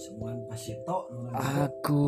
Semua pasti tok. Aku